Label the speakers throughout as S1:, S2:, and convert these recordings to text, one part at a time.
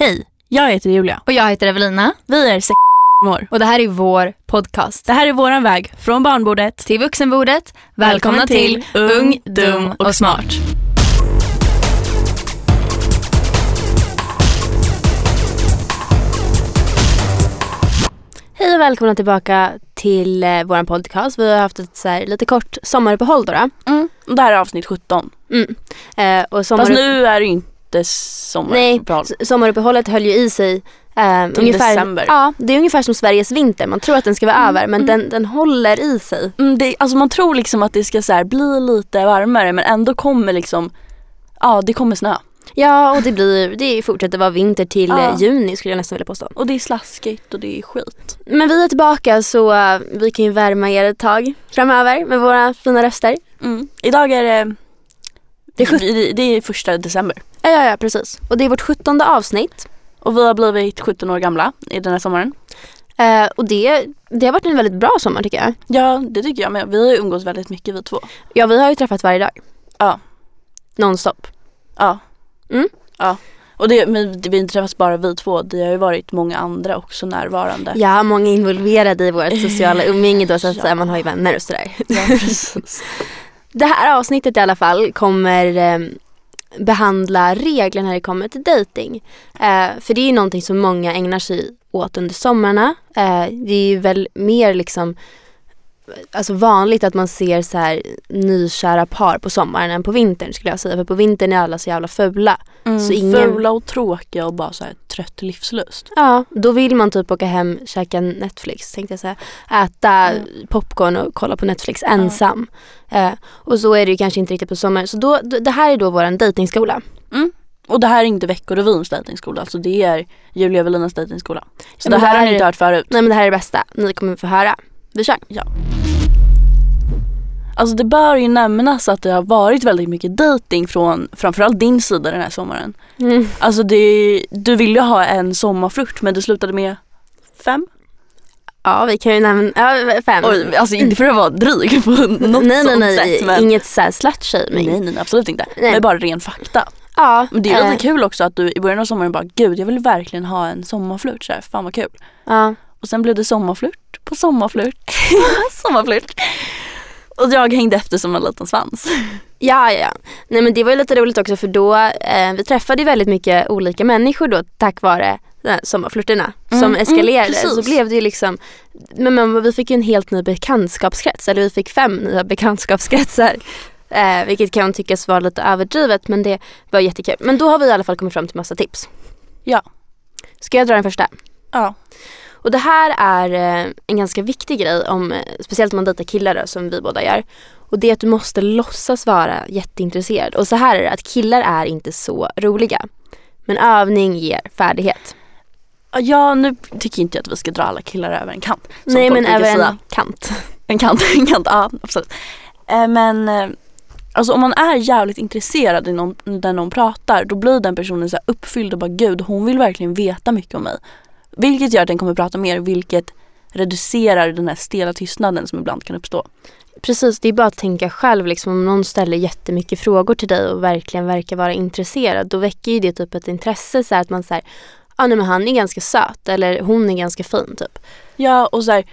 S1: Hej, jag heter Julia.
S2: Och jag heter Evelina.
S1: Vi är sex mor.
S2: Och det här är vår podcast.
S1: Det här är våran väg från barnbordet.
S2: Till vuxenbordet, välkomna till Ung, Dum och Smart.
S3: Hej och välkomna tillbaka till eh, vår podcast. Vi har haft ett så här, lite kort sommaruppehåll då. då.
S4: Det här är avsnitt 17.
S3: Mm. Eh, och sommarupp-
S4: Fast nu är det ju inte sommar.
S3: Nej,
S4: Bra.
S3: s- sommaruppehållet höll ju i sig eh,
S4: Till december.
S3: Ja, det är ungefär som Sveriges vinter. Man tror att den ska vara över men den, den håller i sig.
S4: Mm, det, alltså man tror liksom att det ska så här bli lite varmare men ändå kommer liksom, ja det kommer snö.
S3: Ja, och det, blir, det fortsätter vara vinter till
S4: Ja.
S3: eh, juni skulle jag nästan vilja påstå.
S4: Och det är slaskigt och det är skit.
S3: Men vi är tillbaka så eh, vi kan ju värma er ett tag framöver med våra fina röster.
S4: Mm. Idag är det,
S3: Det är sjut-
S4: vi- det är första december.
S3: Ja, ja, ja, precis. Och det är vårt sjuttonde avsnitt.
S4: Och vi har blivit 17 år gamla i den här sommaren.
S3: Eh, och det, det har varit en väldigt bra sommar tycker jag.
S4: Ja det tycker jag med. Vi har ju umgås väldigt mycket vi två.
S3: Ja, vi har ju träffat varje dag.
S4: Ja.
S3: Nonstop.
S4: Ja.
S3: Mm.
S4: Ja. Och det, men det- vi har inte träffats bara vi två, det har ju varit många andra också närvarande.
S3: Ja, många involverade i vårt sociala umgänge då så att
S4: Ja.
S3: säga, man har ju vänner och sådär.
S4: Ja, precis.
S3: Det här avsnittet i alla fall kommer eh, behandla regler när det kommer till dejting. Eh, för det är ju någonting som många ägnar sig åt under sommarna. Eh, det är ju väl mer liksom Alltså vanligt att man ser så här nykära par på sommaren än på vintern skulle jag säga. För på vintern är alla så jävla fula.
S4: Mm,
S3: Så ingen-
S4: Fula och tråkiga och bara så här trött livslust.
S3: Ja, då vill man typ åka hem, käka Netflix tänkte jag säga. Äta
S4: Mm.
S3: popcorn och kolla på Netflix ensam. Eh, och så är det ju kanske inte riktigt på sommaren. Så då, d- det här är då vår dejtingskola.
S4: Och det här är inte Veckorevyns dejtingskola, alltså det är Julia Velinas dejtingskola. Så
S3: men
S4: det
S3: det
S4: här har
S3: här
S4: ni inte
S3: är-
S4: hört förut.
S3: Nej men det här är det bästa. Ni kommer få höra. Vi kör.
S4: Alltså det bör ju nämnas att det har varit väldigt mycket dejting från framförallt din sida den här sommaren. Alltså det, du ville ju ha en sommarflört men det slutade med fem?
S3: Ja, vi kan ju nämna ja, fem.
S4: Oj, alltså inte för att vara dryg på något
S3: nej, nej,
S4: sånt
S3: nej.
S4: sätt. Men...
S3: Inget såhär slut-shaming.
S4: Nej, nej, nej, absolut inte.
S3: Nej.
S4: Men bara ren fakta.
S3: Ja,
S4: Men det är
S3: eh,
S4: ju lite kul också att du i början av sommaren bara gud jag vill verkligen ha en sommarflört så här, fan vad kul.
S3: ja.
S4: Och sen blev det sommarflört på sommarflört. sommarflört. Och jag hängde efter som en liten svans.
S3: Ja, ja, ja. Nej men det var ju lite roligt också för då, eh, vi träffade ju väldigt mycket olika människor då tack vare de här sommarflörterna
S4: Mm,
S3: som eskalerade.
S4: mm, precis.
S3: så blev det ju liksom, men, men vi fick ju en helt ny bekantskapskrets, eller vi fick fem nya bekantskapskretsar. Eh, vilket kan tyckas vara lite överdrivet men det var jättekul. Men då har vi i alla fall kommit fram till massa tips.
S4: Ja.
S3: Ska jag dra den första?
S4: Ja.
S3: Och det här är eh, en ganska viktig grej, om, eh, speciellt om man dejtar killar då, som vi båda gör. Och det är att du måste låtsas vara jätteintresserad. Och så här är det, att killar är inte så roliga. Men övning ger färdighet.
S4: Ja nu tycker inte jag att vi ska dra alla killar över en kant. Som
S3: Nej
S4: folk
S3: men
S4: brukar
S3: över
S4: säga.
S3: en kant.
S4: En kant, en kant, ja absolut. Eh, Men eh, alltså om man är jävligt intresserad i någon, när någon pratar då blir den personen så här uppfylld och bara gud hon vill verkligen veta mycket om mig. Vilket gör att den kommer prata mer vilket reducerar den här stela tystnaden som ibland kan uppstå.
S3: Precis, det är bara att tänka själv. Liksom, om någon ställer jättemycket frågor till dig och verkligen verkar vara intresserad då väcker ju det typ ett intresse. Så här, att man säger ah, nej men han är ganska söt eller hon är ganska fin typ.
S4: Ja och så här,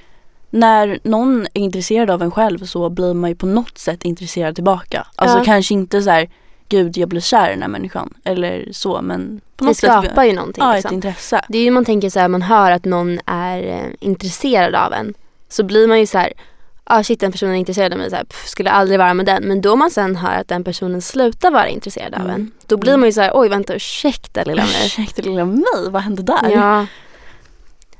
S4: när någon är intresserad av en själv så blir man ju på något sätt intresserad tillbaka. Alltså
S3: Ja.
S4: kanske inte så här gud jag blir kär i den här människan eller så men på
S3: Det
S4: något sätt
S3: skapar ju någonting.
S4: ja, ett
S3: liksom.
S4: intresse.
S3: Det är ju man tänker så här, man hör att någon är eh, intresserad av en. Så blir man ju så här, ah shit den personen är intresserad av mig, så här, pff, skulle aldrig vara med den. Men då man sen hör att den personen slutar vara intresserad av
S4: Mm.
S3: en. Då blir man ju så här, oj vänta ursäkta lilla mig.
S4: Ursäkta lilla mig, vad hände där?
S3: Ja.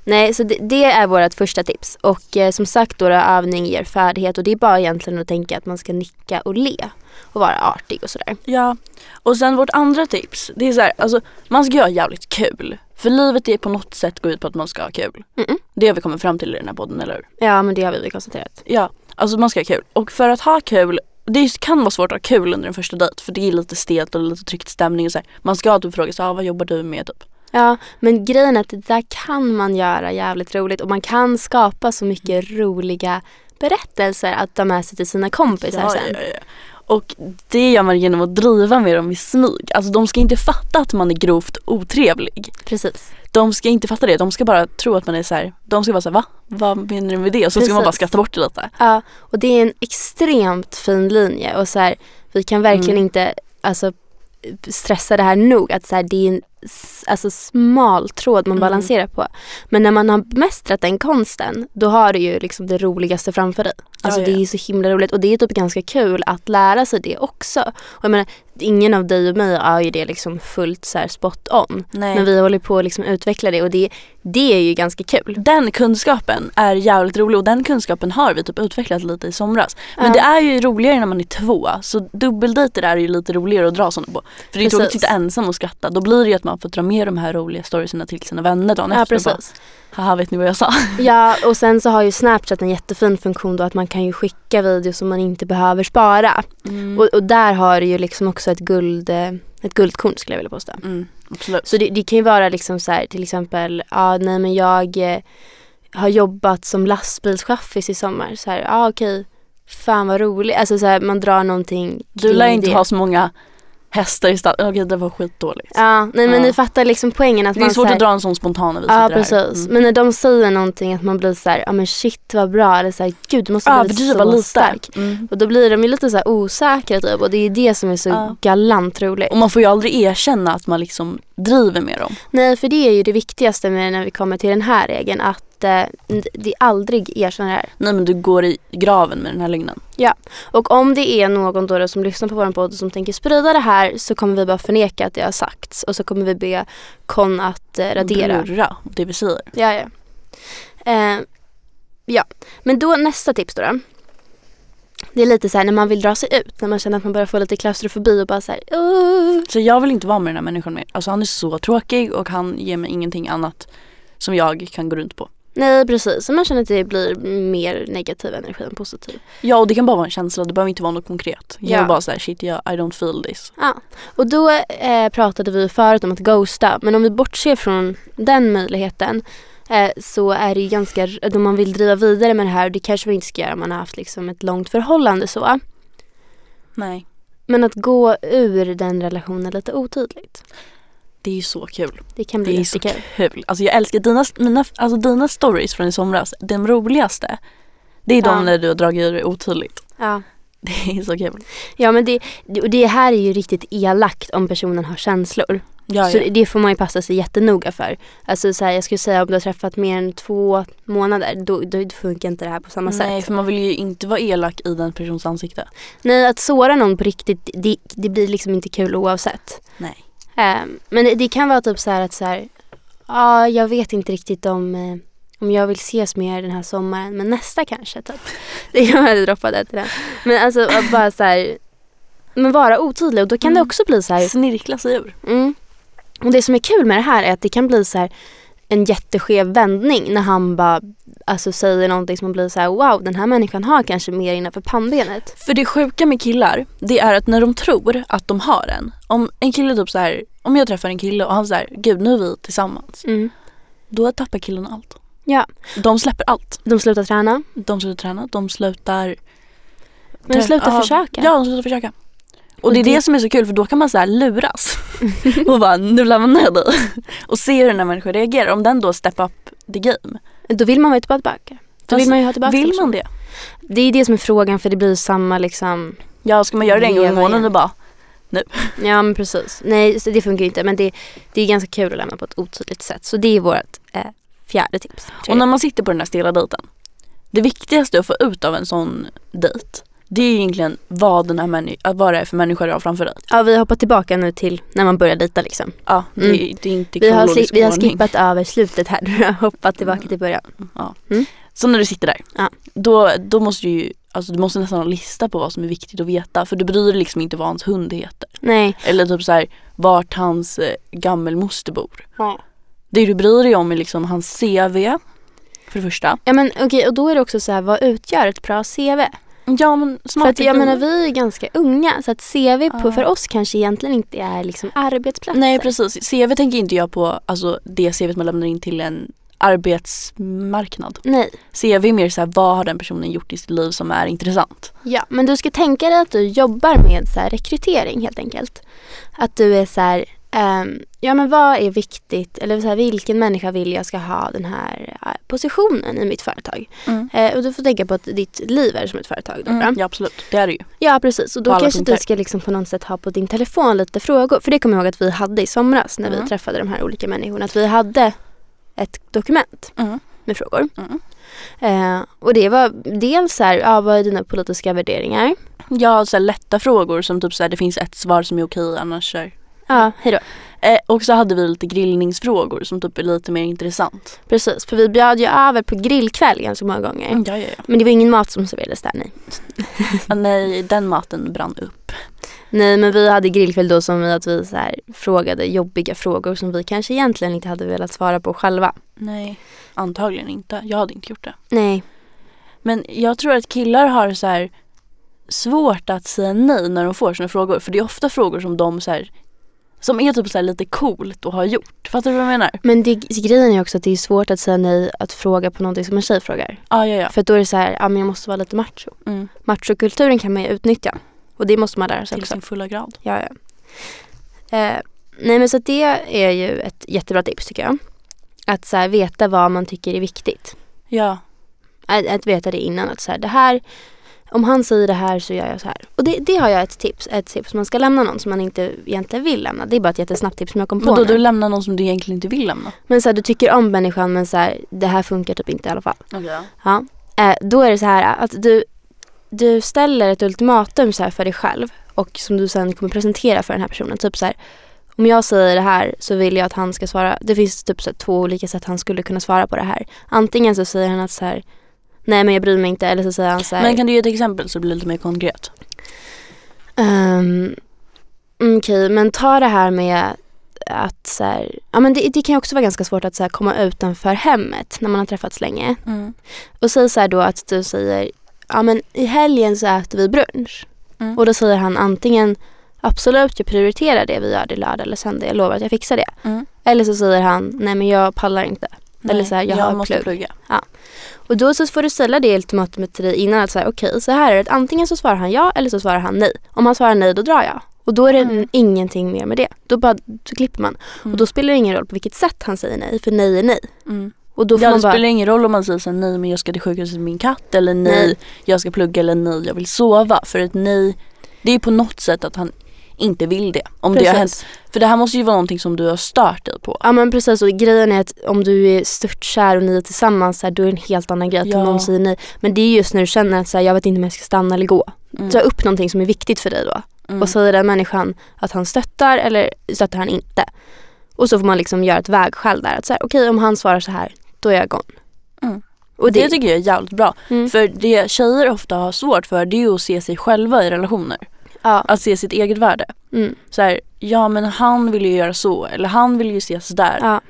S3: Nej, så det, det är vårt första tips. Och eh, som sagt då, då, övning ger färdighet och det är bara egentligen att tänka att man ska nicka och le och vara artig och sådär.
S4: Ja. Och sen vårt andra tips, det är så här, alltså man ska göra jävligt kul. För livet är på något sätt går ut på att man ska ha kul.
S3: Mm-mm.
S4: Det har vi kommit fram till i den här podden, eller hur?
S3: Ja, men det har vi väl konstaterat.
S4: Ja, alltså man ska ha kul. Och för att ha kul, det kan vara svårt att ha kul under en första dejt för det är lite stelt och lite tryckt stämning och så här. Man ska typ fråga så här, "Ah, vad jobbar du med typ?
S3: Ja, men grejen är att det där kan man göra jävligt roligt och man kan skapa så mycket roliga berättelser att ta med sig till sina kompisar sen.
S4: ja, ja. Och det gör man genom att driva med dem i smyg. Alltså de ska inte fatta att man är grovt otrevlig.
S3: Precis.
S4: De ska inte fatta det. De ska bara tro att man är så här. De ska bara säga va? Vad menar du med det? Och så ska man
S3: Precis.
S4: bara skratta bort det lite.
S3: Ja, och det är en extremt fin linje och så här, vi kan verkligen
S4: Mm.
S3: inte alltså, stressa det här nog att så här, det är en s- alltså, smal tråd man
S4: Mm.
S3: balanserar på. Men när man har bemästrat den konsten då har du ju liksom det roligaste framför dig. Alltså
S4: ja,
S3: det
S4: ja.
S3: är ju så himla roligt och det är typ ganska kul att lära sig det också. Och jag menar, ingen av dig och mig har ju det liksom fullt så här spot on.
S4: Nej.
S3: Men vi håller på att liksom utveckla det och det, det är ju ganska kul.
S4: Den kunskapen är jävligt rolig och den kunskapen har vi typ utvecklat lite i somras. Men
S3: Ja.
S4: det är ju roligare när man är två. Så dubbeldejter är ju lite roligare att dra sådana på. För det är tråkigt att
S3: Precis.
S4: sitta ensam och skratta. Då blir det ju att man får dra med de här roliga storiesna till sina vänner dagen
S3: Ja,
S4: efter. Och bara,
S3: precis.
S4: Haha vet ni vad jag sa?
S3: Ja, och sen så har ju Snapchat en jättefin funktion då att man kan ju skicka videos som man inte behöver spara.
S4: Mm.
S3: Och, och där har du ju liksom också ett, guld, eh, ett guldkorn skulle jag vilja påstå.
S4: Mm, absolut.
S3: Så det, det kan ju vara liksom så här till exempel, ja nej men jag eh, har jobbat som lastbilschaffis i sommar. Så här, ja okej, fan vad roligt. Alltså så här, man drar någonting
S4: Du lär
S3: kring
S4: inte
S3: det.
S4: ha så många hästar i stallet. Okej det var skitdåligt.
S3: Ja, nej men
S4: Ja.
S3: ni fattar liksom poängen att
S4: det är
S3: man så
S4: svårt
S3: här,
S4: att dra en sån spontan när vi
S3: Ja
S4: sitter
S3: precis,
S4: här. Mm.
S3: men när de säger någonting att man blir så här, ja men shit vad bra eller så här, gud du måste ha
S4: Ja,
S3: blivit
S4: överdriva
S3: så
S4: lite.
S3: stark.
S4: Mm.
S3: Och då blir de ju lite så här osäkra typ och det är det som är så
S4: Ja.
S3: galant roligt.
S4: Och man får ju aldrig erkänna att man liksom driver med dem.
S3: Nej för det är ju det viktigaste med när vi kommer till den här regeln att eh, det är aldrig erkänna det här.
S4: Nej men du går i graven med den här lögnen.
S3: Och om det är någon då som lyssnar på vår podd som tänker sprida det här så kommer vi bara förneka att det har sagts och så kommer vi be kon att eh, radera.
S4: Blurra, det vi säger.
S3: Ja, ja. Eh, ja, men då nästa tips då. då. Det är lite så här när man vill dra sig ut, när man känner att man börjar få lite klaustrofobi och bara så här, "Åh."
S4: Så jag vill inte vara med den här människan mer. Alltså han är så tråkig och han ger mig ingenting annat som jag kan gå runt på.
S3: Nej, precis. Så man känner att det blir mer negativ energi än positiv.
S4: Ja och det kan bara vara en känsla, det behöver inte vara något konkret. Jag
S3: Ja.
S4: är bara såhär shit jag, I don't feel this.
S3: Ja. Och då eh, pratade vi förut om att ghosta, men om vi bortser från den möjligheten eh, så är det ju ganska, då man vill driva vidare med det här, och det kanske man inte ska göra om man har haft liksom ett långt förhållande så,
S4: Nej.
S3: men att gå ur den relationen lite otydligt.
S4: Det är ju så kul.
S3: Det kan
S4: Det
S3: bli
S4: är så
S3: jättekul.
S4: kul. Alltså jag älskar dina, mina, alltså dina stories från i somras. Den roligaste, det är
S3: Ja.
S4: de när du har dragit ur det otydligt.
S3: Ja.
S4: Det är så kul.
S3: ja, men det, och det här är ju riktigt elakt om personen har känslor.
S4: Ja,
S3: Så
S4: ja.
S3: det får man ju passa sig jättenoga för. Alltså så här, jag skulle säga om du har träffat mer än två månader, då, då funkar inte det här på samma
S4: Nej
S3: sätt.
S4: för man vill ju inte vara elak i den persons ansikte.
S3: Nej, att såra någon på riktigt, det, det blir liksom inte kul oavsett.
S4: Nej.
S3: Ehm, men det, det kan vara typ så här att så här, ja, jag vet inte riktigt om, eh, om jag vill ses mer den här sommaren, men nästa kanske. Typ. Det kan man droppa där till den. Men alltså att bara så här, men vara otydlig och då kan
S4: Mm.
S3: det också bli så här,
S4: Snirkla sig ur.
S3: Mm. Och det som är kul med det här är att det kan bli så här en jätteskev vändning när han bara alltså, säger någonting som man blir så här wow den här människan har kanske mer innanför pannbenet.
S4: För det sjuka med killar, det är att när de tror att de har en. Om en kille typ så här, om jag träffar en kille och han säger gud nu är vi tillsammans. Då tappar killen allt.
S3: Ja.
S4: De släpper allt.
S3: De slutar träna.
S4: De slutar träna, de slutar...
S3: Men de slutar
S4: Ja,
S3: försöka.
S4: Ja, de slutar försöka. Och det är
S3: Och det-
S4: det som är så kul för då kan man så här luras. och bara nu lämnar jag dig. Och se hur den här människan reagerar. Om den då step up the game.
S3: Då vill man vara tillbaka. Då vill
S4: Fast
S3: man ju ha tillbaka
S4: Alltså, Vill
S3: den
S4: man det?
S3: personen. Det är det som är frågan för det blir ju samma liksom.
S4: Ja, ska man göra det en gång i
S3: Leva
S4: månaden
S3: igen.
S4: och bara
S3: Ja men precis. Nej så det funkar ju inte men det, det är ganska kul att lämna på ett otydligt sätt. Så det är vårt eh, fjärde tips.
S4: Och när man sitter på den här stela dejten. Det viktigaste att få ut av en sån dejt. Det är ju egentligen vad, den här männi- äh, vad det är för människa du har framför dig.
S3: Ja vi hoppar tillbaka nu till när man börjar dejta liksom.
S4: Ja, det,
S3: Mm.
S4: är- det är inte
S3: Vi har,
S4: kronologisk
S3: sli- vi har
S4: ordning. Mm.
S3: skippat över slutet här nu och hoppat tillbaka till början.
S4: Ja.
S3: Mm.
S4: Så när du sitter där.
S3: Ja.
S4: Då, då måste du ju alltså, du måste nästan ha en lista på vad som är viktigt att veta. För du bryr dig liksom inte vad hans hund heter.
S3: Nej.
S4: Eller typ så här, vart hans eh, gammelmoster bor. Det du bryr dig om är liksom hans CV. För det första.
S3: Ja men okej och då är det också så här vad utgör ett bra CV?
S4: Ja men
S3: för
S4: snart
S3: att jag menar vi är ganska unga så att CV på,
S4: Ja.
S3: för oss kanske egentligen inte är liksom arbetsplatser.
S4: Nej precis. CV tänker inte jag på, alltså det CV man lämnar in till en arbetsmarknad.
S3: Nej.
S4: CV är mer så här, vad har den personen gjort i sitt liv som är intressant?
S3: Ja, men du ska tänka dig att du jobbar med så här rekrytering helt enkelt. Att du är så här, ehm, ja men vad är viktigt, eller så här, vilken människa vill jag ska ha den här eh, positionen i mitt företag?
S4: Mm.
S3: Eh, och du får tänka på att ditt liv är som ett företag då. va?
S4: Ja absolut, det är det ju.
S3: Ja precis och då
S4: På alla
S3: kanske du
S4: punkter.
S3: ska liksom på något sätt ha på din telefon lite frågor. För det kommer jag ihåg att vi hade i somras när
S4: Mm.
S3: vi träffade de här olika människorna. Att vi hade ett dokument
S4: Mm.
S3: med frågor.
S4: Mm.
S3: Eh, och det var dels så här, ja, vad är dina politiska värderingar?
S4: Ja, så här, lätta frågor som typ så här, det finns ett svar som är okej annars kör.
S3: Ja, hejdå.
S4: Eh, och så hade vi lite grillningsfrågor som typ är lite mer intressant.
S3: Precis, för vi bjöd ju över på grillkväll ganska många gånger.
S4: Mm, Ja, ja, ja.
S3: Men det var ingen mat som serverades där nej.
S4: Ah, nej, den maten brann upp.
S3: Nej men vi hade grillkväll då som i att vi så här, frågade jobbiga frågor som vi kanske egentligen inte hade velat svara på själva.
S4: Nej, antagligen inte. Jag hade inte gjort det.
S3: Nej.
S4: Men jag tror att killar har så här svårt att säga nej när de får sina frågor. För det är ofta frågor som de så här, som är typ så här lite coolt att ha gjort. Fattar du vad jag menar?
S3: Men det, grejen är också att det är svårt att säga nej att fråga på någonting som en tjej frågar.
S4: Ah, ja, ja.
S3: För att då är det så här, ja men jag måste vara lite macho.
S4: Mm.
S3: Machokulturen kan man ju utnyttja. Och det måste man lära sig
S4: Till
S3: också.
S4: sin fulla grad.
S3: Ja, ja. Eh, nej men så att det är ju ett jättebra tips tycker jag. Att så här, veta vad man tycker är viktigt.
S4: Ja,
S3: att, att veta det innan. Att så här, det här, om han säger det här så gör jag så här. Och det, det har jag ett tips. Ett tips man ska lämna någon som man inte egentligen vill lämna. Det är bara ett jättesnabbt tips som jag kom på
S4: men då
S3: nu.
S4: du lämnar någon som du egentligen inte vill lämna?
S3: Men så här, du tycker om människan men så här, det här funkar typ inte i alla fall.
S4: Okay.
S3: Ja. Eh, då är det så här att du, du ställer ett ultimatum så här för dig själv och som du sen kommer presentera för den här personen. Typ så här, om jag säger det här så vill jag att han ska svara. Det finns typ så här, två olika sätt han skulle kunna svara på det här. Antingen så säger han att så här, nej men jag bryr mig inte eller så säger han så här.
S4: Men kan du ge ett exempel så det blir lite mer konkret?
S3: Ehm, Okej, men ta det här med att så här, ja, men det, det kan ju också vara ganska svårt att så här, komma utanför hemmet när man har träffats länge.
S4: Mm.
S3: Och säg så här då att du säger, ja men i helgen så äter vi brunch.
S4: Mm.
S3: Och då säger han antingen, absolut jag prioriterar det, vi gör det lördag eller söndag, jag lovar att jag fixar det.
S4: Mm.
S3: Eller så säger han, nej men jag pallar inte. Eller så här, jag har
S4: måste
S3: plugg.
S4: plugga.
S3: Och då så får du ställa det ultimatumet till dig innan att säga okej så här är det. Antingen så svarar han ja eller så svarar han nej. Om han svarar nej då drar jag. Och då är det
S4: Mm.
S3: ingenting mer med det. Då bara så klipper man.
S4: Mm.
S3: Och då spelar det ingen roll på vilket sätt han säger nej för nej är nej.
S4: Mm.
S3: Och då får
S4: ja, det
S3: man bara
S4: spelar ingen roll om man säger så här, nej men jag ska till sjukhuset med min katt eller nej,
S3: Nej.
S4: jag ska plugga eller nej jag vill sova. För ett nej, det är på något sätt att han inte vill det. Om det har hänt.
S3: Precis.
S4: För det här måste ju vara någonting som du har stört dig på.
S3: Ja men precis och grejen är att om du är störtkär och ni är tillsammans så här, då är det en helt annan grej att
S4: Ja.
S3: någon säger nej. Men det är just när du känner att så här, jag vet inte om jag ska stanna eller gå.
S4: Mm.
S3: Ta upp någonting som är viktigt för dig då.
S4: Mm.
S3: Och säger den människan att han stöttar eller stöttar han inte. Och så får man liksom göra ett vägskäl där. Att så här, okej om han svarar så här, då är jag gone.
S4: Mm.
S3: Och
S4: det,
S3: det,
S4: tycker jag är jävligt bra.
S3: Mm.
S4: För det tjejer ofta har svårt för det är ju att se sig själva i relationer.
S3: ja,
S4: Att se sitt eget värde.
S3: mm,
S4: Så här, ja men han vill ju göra så eller han vill ju ses där.
S3: ja,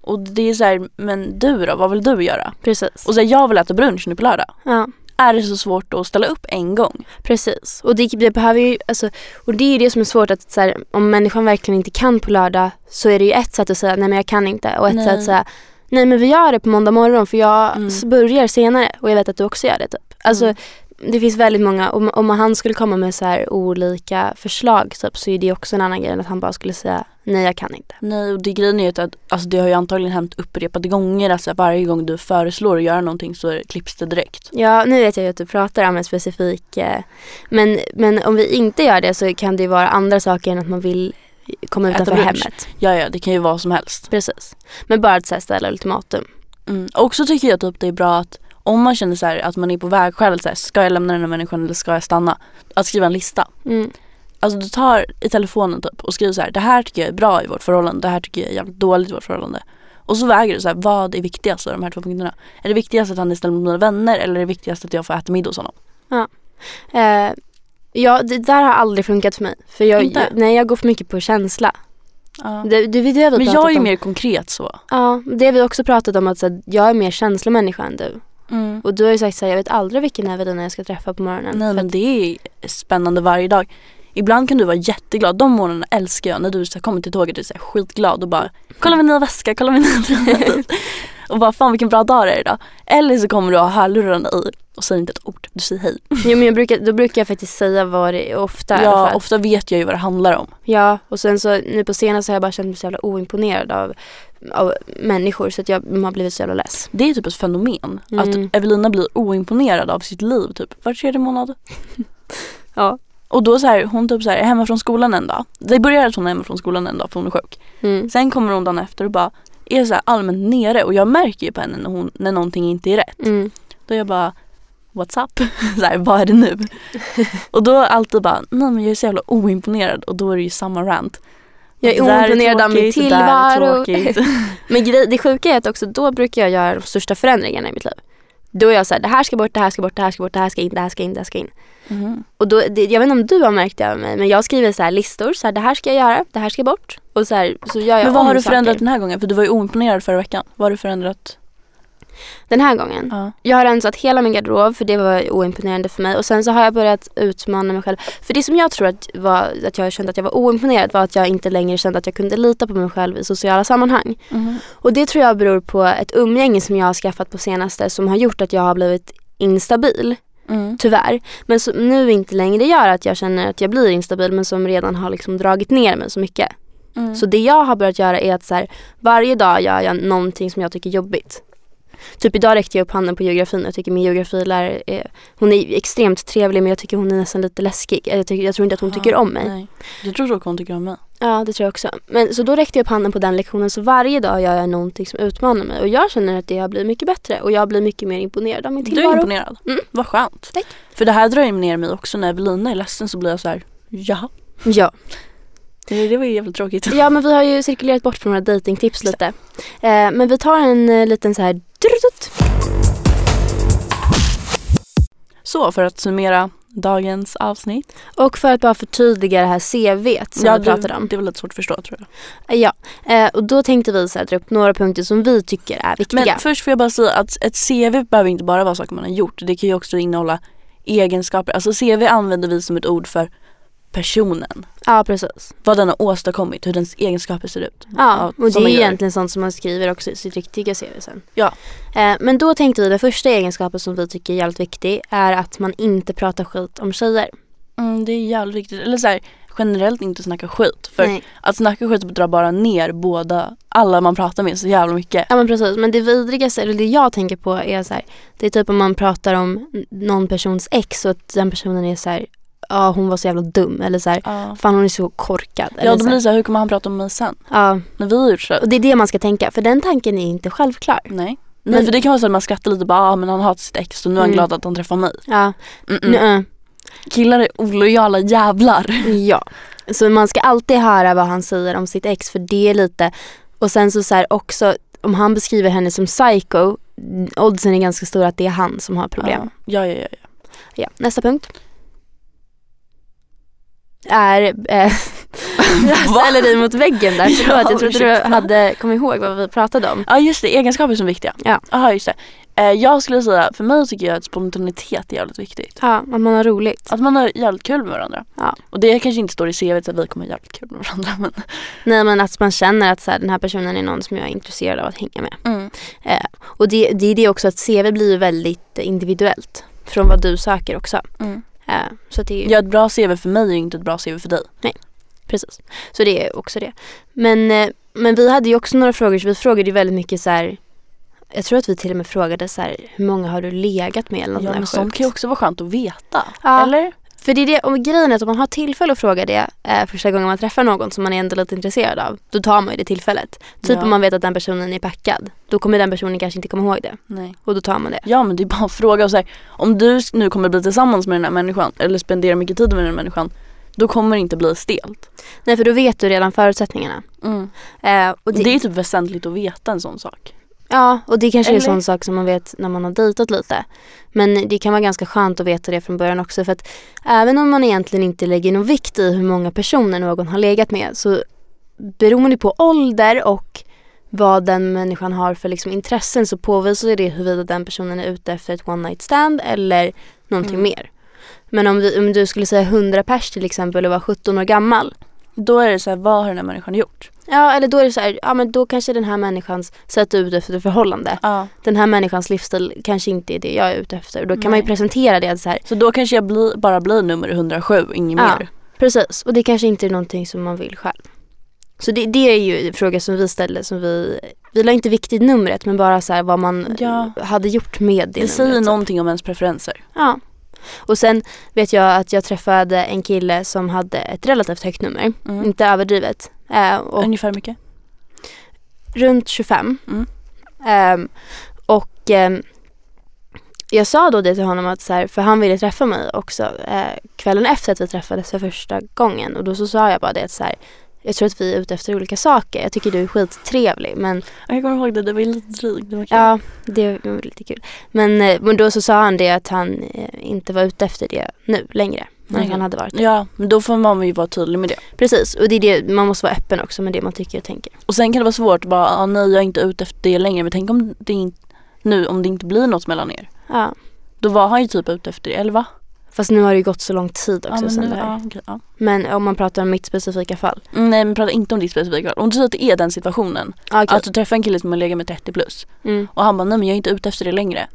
S4: Och det är så här, men du då, vad vill du göra?
S3: precis.
S4: Och så här, jag vill äta brunch nu på lördag.
S3: ja,
S4: Är det så svårt att ställa upp en gång?
S3: precis. Och det, det behöver ju, alltså, och det är ju det som är svårt att så här, om människan verkligen inte kan på lördag så är det ju ett sätt att säga nej men jag kan inte och ett
S4: Nej.
S3: sätt att säga nej men vi gör det på måndag morgon för jag
S4: Mm.
S3: s- börjar senare och jag vet att du också gör det typ. Alltså
S4: Mm.
S3: det finns väldigt många, om, om han skulle komma med så här olika förslag typ, så är det också en annan grej än att han bara skulle säga nej jag kan inte.
S4: Nej, och det grejen är ju att alltså, det har ju antagligen hänt upprepade gånger. Alltså varje gång du föreslår att göra någonting så är det- klipps det direkt.
S3: Ja nu vet jag ju att du pratar om en specifik, eh, men, men om vi inte gör det så kan det ju vara andra saker än att man vill komma
S4: Äta
S3: utanför
S4: lunch.
S3: hemmet.
S4: Ja, ja, det kan ju vara som helst.
S3: Precis. Men bara att så här, ställa ultimatum.
S4: Mm. Också tycker jag typ det är bra att om man känner så här, att man är på vägskäl, så här, ska jag lämna den här människan eller ska jag stanna? Att skriva en lista.
S3: Mm.
S4: Alltså du tar i telefonen typ och skriver så här, det här tycker jag är bra i vårt förhållande, det här tycker jag är jävligt dåligt i vårt förhållande. Och så väger du så här, vad är viktigast av de här två punkterna? Är det viktigast att han är snäll mot mina vänner eller är det viktigast att jag får äta middag hos honom?
S3: Eh, ja det där har aldrig funkat för mig. För jag,
S4: Inte?
S3: jag, nej, jag går för mycket på känsla.
S4: Ja.
S3: Det, det, det, det
S4: Men
S3: har vi pratat
S4: Typ, jag är ju
S3: om.
S4: mer konkret så.
S3: Ja, det har vi också pratat om att så här, jag är mer känslomänniska än du. Och du har ju sagt så här, jag vet aldrig vilken Evelina jag ska träffa på morgonen.
S4: Mm. Nej
S3: För
S4: men
S3: att-
S4: det är spännande varje dag. Ibland kan du vara jätteglad, de morgnarna älskar jag när du så här, kommer till tåget och är så här, skitglad och bara kolla min nya väska, kolla min nya tröja. typ. och bara fan vilken bra dag det är idag. Eller så kommer du ha hörlurarna i och säger inte ett ord, du säger hej.
S3: Jo, men jag brukar, då brukar jag faktiskt säga vad det är ofta. i alla
S4: Ja,
S3: fall.
S4: ofta vet jag ju vad det handlar om.
S3: Ja, och sen så nu på senare så har jag bara känt mig så jävla oimponerad av, av människor så att jag har blivit så jävla less.
S4: Det är typ ett fenomen.
S3: Mm.
S4: Att Evelina blir oimponerad av sitt liv typ var tredje månad.
S3: Ja.
S4: Och då så här, hon typ så här, är hemma från skolan en dag. Det börjar att hon är hemma från skolan en dag för hon är sjuk.
S3: Mm.
S4: Sen kommer hon dagen efter och bara är så här allmänt nere och jag märker ju på henne när, hon, när någonting inte är rätt.
S3: Mm.
S4: Då är jag bara What's up? Så här, vad är det nu? och då alltid bara, nej men jag är så jävla oimponerad och då är det ju samma rant.
S3: Jag är
S4: Det där
S3: oimponerad av min
S4: tråkigt, det där är
S3: tillvaro.
S4: tråkigt.
S3: Men grej, det sjuka är att också då brukar jag göra de största förändringarna i mitt liv. Då är jag så här, det här ska bort, det här ska bort, det här ska bort, det här ska in, det här ska in, det här ska in.
S4: Mhm.
S3: Och då, det, jag vet inte om du har märkt det av mig, men jag skriver så här listor, så här, det här ska jag göra, det här ska bort. Och så här, så gör jag
S4: Men vad
S3: om
S4: har du
S3: saker.
S4: förändrat den här gången? För du var ju oimponerad förra veckan. Vad har du förändrat?
S3: Den här gången?
S4: Ja.
S3: Jag har rensat hela min garderob för det var oimponerande för mig. Och sen så har jag börjat utmana mig själv. För det som jag tror att, var, att jag kände att jag var oimponerad var att jag inte längre kände att jag kunde lita på mig själv i sociala sammanhang.
S4: Mm.
S3: Och det tror jag beror på ett umgänge som jag har skaffat på senaste som har gjort att jag har blivit instabil.
S4: Mm.
S3: Tyvärr. Men som nu inte längre gör att jag känner att jag blir instabil men som redan har liksom dragit ner mig så mycket.
S4: Mm.
S3: Så det jag har börjat göra är att så här, varje dag gör jag någonting som jag tycker är jobbigt. Typ idag räckte jag upp handen på geografin. Jag tycker min geografilärare är, hon är extremt trevlig men jag tycker hon är nästan lite läskig. Eh, Jag, tycker, jag tror inte att hon
S4: Ja,
S3: tycker om mig.
S4: Nej. Jag tror dock hon tycker om mig.
S3: Ja det tror jag också. Men, så då räckte jag upp handen på den lektionen så varje dag gör jag någonting som utmanar mig. Och jag känner att det har blivit mycket bättre och jag blir mycket mer imponerad av min
S4: Du är
S3: tillvaro.
S4: imponerad.
S3: Mm.
S4: Vad skönt.
S3: Tack.
S4: För det här drar ju ner mig också. När Evelina är ledsen så blir jag så här, jaha.
S3: ja.
S4: Det det var ju jävligt tråkigt.
S3: ja men vi har ju cirkulerat bort från våra datingtips lite. Eh, men vi tar en eh, liten så här drutut.
S4: Så för att summera dagens avsnitt.
S3: Och för att bara förtydliga det här CVt som vi pratade om.
S4: det var lite svårt att förstå tror jag.
S3: Ja, eh, och då tänkte vi så här, dra upp några punkter som vi tycker är
S4: Men
S3: viktiga.
S4: först får jag bara säga att ett CV behöver inte bara vara saker man har gjort. Det kan ju också innehålla egenskaper. Alltså CV använder vi som ett ord för personen.
S3: Ja, precis.
S4: Vad den har åstadkommit, hur dens egenskaper ser ut.
S3: Ja,
S4: Ja,
S3: och det
S4: som
S3: är
S4: man
S3: ju
S4: gör.
S3: egentligen sånt som man skriver också i sitt riktiga CV sen.
S4: Ja.
S3: Eh, men då tänkte vi den första egenskapen som vi tycker är jävligt viktig är att man inte pratar skit om tjejer.
S4: Mm, det är jävligt viktigt. Eller så här, generellt inte snacka skit. För
S3: Nej.
S4: Att snacka skit drar bara ner båda, alla man pratar med så jävla mycket.
S3: Ja men precis, men det vidrigaste, eller det jag tänker på är så här, det är typ om man pratar om n- någon persons ex och att den personen är så här, ja hon var så jävla dum eller så här,
S4: Ja,
S3: fan hon är så korkad. eller
S4: ja då
S3: så
S4: blir
S3: här,
S4: det så här, hur kommer han prata om mig sen?
S3: ja,
S4: När vi har gjort slut?
S3: och det är det man ska tänka för den tanken är inte självklar.
S4: Nej. Nej
S3: Men-
S4: för det kan vara så att man skrattar lite bara, ah, men han hatar sitt ex och nu är han
S3: Mm.
S4: glad att han träffar mig.
S3: Ja,
S4: Mm-mm.
S3: mm.
S4: Killar är olojala jävlar.
S3: Ja, så man ska alltid höra vad han säger om sitt ex för det är lite och sen så, så här också om han beskriver henne som psycho oddsen är ganska stora att det är han som har problem.
S4: Ja, ja, ja. ja.
S3: Ja. Nästa punkt. Är... Eh, jag
S4: Va?
S3: ställer dig mot väggen där. Förlåt,
S4: Ja,
S3: jag trodde
S4: ursäkta.
S3: du hade kommit ihåg vad vi pratade om.
S4: ja just det, egenskaper som är viktiga.
S3: Ja.
S4: Aha, just det. Eh, jag skulle säga, för mig tycker jag att spontanitet är jävligt viktigt.
S3: Ja, att man har roligt.
S4: Att man har jävligt kul med varandra.
S3: Ja.
S4: Och det kanske inte står i CVt att vi kommer ha jävligt kul med varandra. Men...
S3: Nej men att man känner att så här, den här personen är någon som jag är intresserad av att hänga med. Och det, det är det också att CV blir ju väldigt individuellt från vad du söker också.
S4: Mm.
S3: Eh, så att det är ju,
S4: Ja, ett bra CV för mig är ju inte ett bra CV för dig.
S3: precis. Så det är också det. Men, eh, men vi hade ju också några frågor så vi frågade ju väldigt mycket så här. Jag tror att vi till och med frågade så här, hur många har du legat med eller något
S4: Ja,
S3: där
S4: men sånt
S3: sjukt.
S4: kan ju också vara skönt att veta.
S3: Ja.
S4: Eller?
S3: För det är det, och grejen är att om man har tillfälle att fråga det eh, första gången man träffar någon som man är ändå lite intresserad av, då tar man ju det tillfället. Typ
S4: Ja.
S3: om man vet att den personen är packad, då kommer den personen kanske inte komma ihåg det
S4: Nej.
S3: och då tar man det.
S4: Ja men det är bara att fråga och så här, om du nu kommer bli tillsammans med den här människan eller spendera mycket tid med den här människan då kommer det inte bli stelt.
S3: Nej för då vet du redan förutsättningarna. Eh, och
S4: Det är typ väsentligt att veta en sån sak.
S3: Ja, och det kanske är
S4: Eller?
S3: en sån sak som man vet när man har dejtat lite. Men det kan vara ganska skönt att veta det från början också för att även om man egentligen inte lägger någon vikt i hur många personer någon har legat med så beroende på ålder och vad den människan har för liksom intressen så påvisar det huruvida den personen är ute efter ett one night stand eller någonting
S4: Mm.
S3: mer. Men om, vi, om du skulle säga 100 pers till exempel och var 17 år gammal
S4: Då är det så här, vad har den här människan gjort?
S3: Ja, eller då är det så här, ja men då kanske den här människan sätter ut efter ett förhållande.
S4: Ja.
S3: Den här människans livsstil kanske inte är det jag är ute efter. Då kan man ju
S4: Nej.
S3: presentera det så här,
S4: Så då kanske jag bli, bara blir nummer 107, inget
S3: Ja.
S4: mer.
S3: precis. Och det kanske inte är någonting som man vill själv. Så det, det är ju en fråga som vi ställde som vi, vi la inte vikt i numret men bara så här vad man
S4: Ja.
S3: eh, hade gjort med det
S4: Det säger
S3: numret.
S4: någonting om ens preferenser.
S3: Ja. Och sen vet jag att jag träffade en kille som hade ett relativt högt nummer.
S4: Mm.
S3: Inte överdrivet. Eh, och
S4: Ungefär mycket?
S3: runt 25.
S4: Mm.
S3: Ehm, och ehm, jag sa då det till honom att så här, för han ville träffa mig också eh, kvällen efter att vi träffades för första gången. Och då så sa jag bara det att så här, jag tror att vi är ute efter olika saker. Jag tycker du är skittrevlig men
S4: Jag kommer ihåg det, det var ju lite drygt. Det var kul.
S3: ja, det var lite kul. Men, eh, men då så sa han det att han eh, inte var ute efter det nu längre. Men
S4: Nej.
S3: han hade varit.
S4: Mm. ja, men då får man ju vara tydlig med det.
S3: Precis, och det är det, man måste vara öppen också med det man tycker och tänker.
S4: Och sen kan det vara svårt bara, ah, nej jag är inte ute efter det längre men tänk om det inte, nu om det inte blir något mellan er.
S3: Ja.
S4: Då var han ju typ ute efter det, eller va?
S3: Fast nu har det ju gått så lång tid
S4: Ja,
S3: också
S4: men
S3: sen
S4: nu,
S3: det här.
S4: ja, okej, ja.
S3: Men om man pratar om mitt specifika fall.
S4: Mm, Nej men prata inte om ditt specifika fall. Om du säger att det är den situationen,
S3: Ja, okej.
S4: att du träffar en kille som har legat med 30 plus
S3: Alltså, Mm.
S4: och han bara nej men jag är inte ute efter det längre.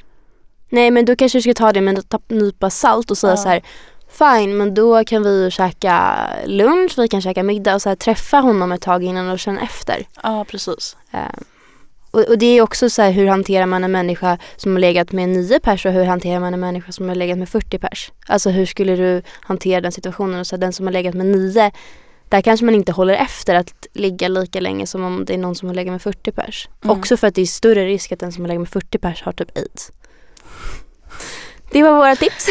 S3: Nej men då kanske du ska ta det med en tapp- nypa salt och säga
S4: Ja.
S3: så här. Fine, men då kan vi ju käka lunch, vi kan käka middag och så här, träffa honom ett tag innan och känna efter.
S4: Ja precis.
S3: Eh, och, och det är också så här, hur hanterar man en människa som har legat med nio pers och hur hanterar man en människa som har legat med 40 pers? Alltså hur skulle du hantera den situationen? Och så här, den som har legat med nio, där kanske man inte håller efter att ligga lika länge som om det är någon som har legat med 40 pers.
S4: Mm.
S3: Också för att det är större risk att den som har legat med 40 pers har typ aids. Det var våra tips.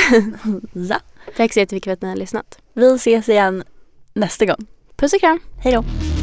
S4: Ja.
S3: Tack så jättemycket för att ni har lyssnat.
S4: Vi ses igen nästa gång.
S3: Puss och kram.
S4: Hej då.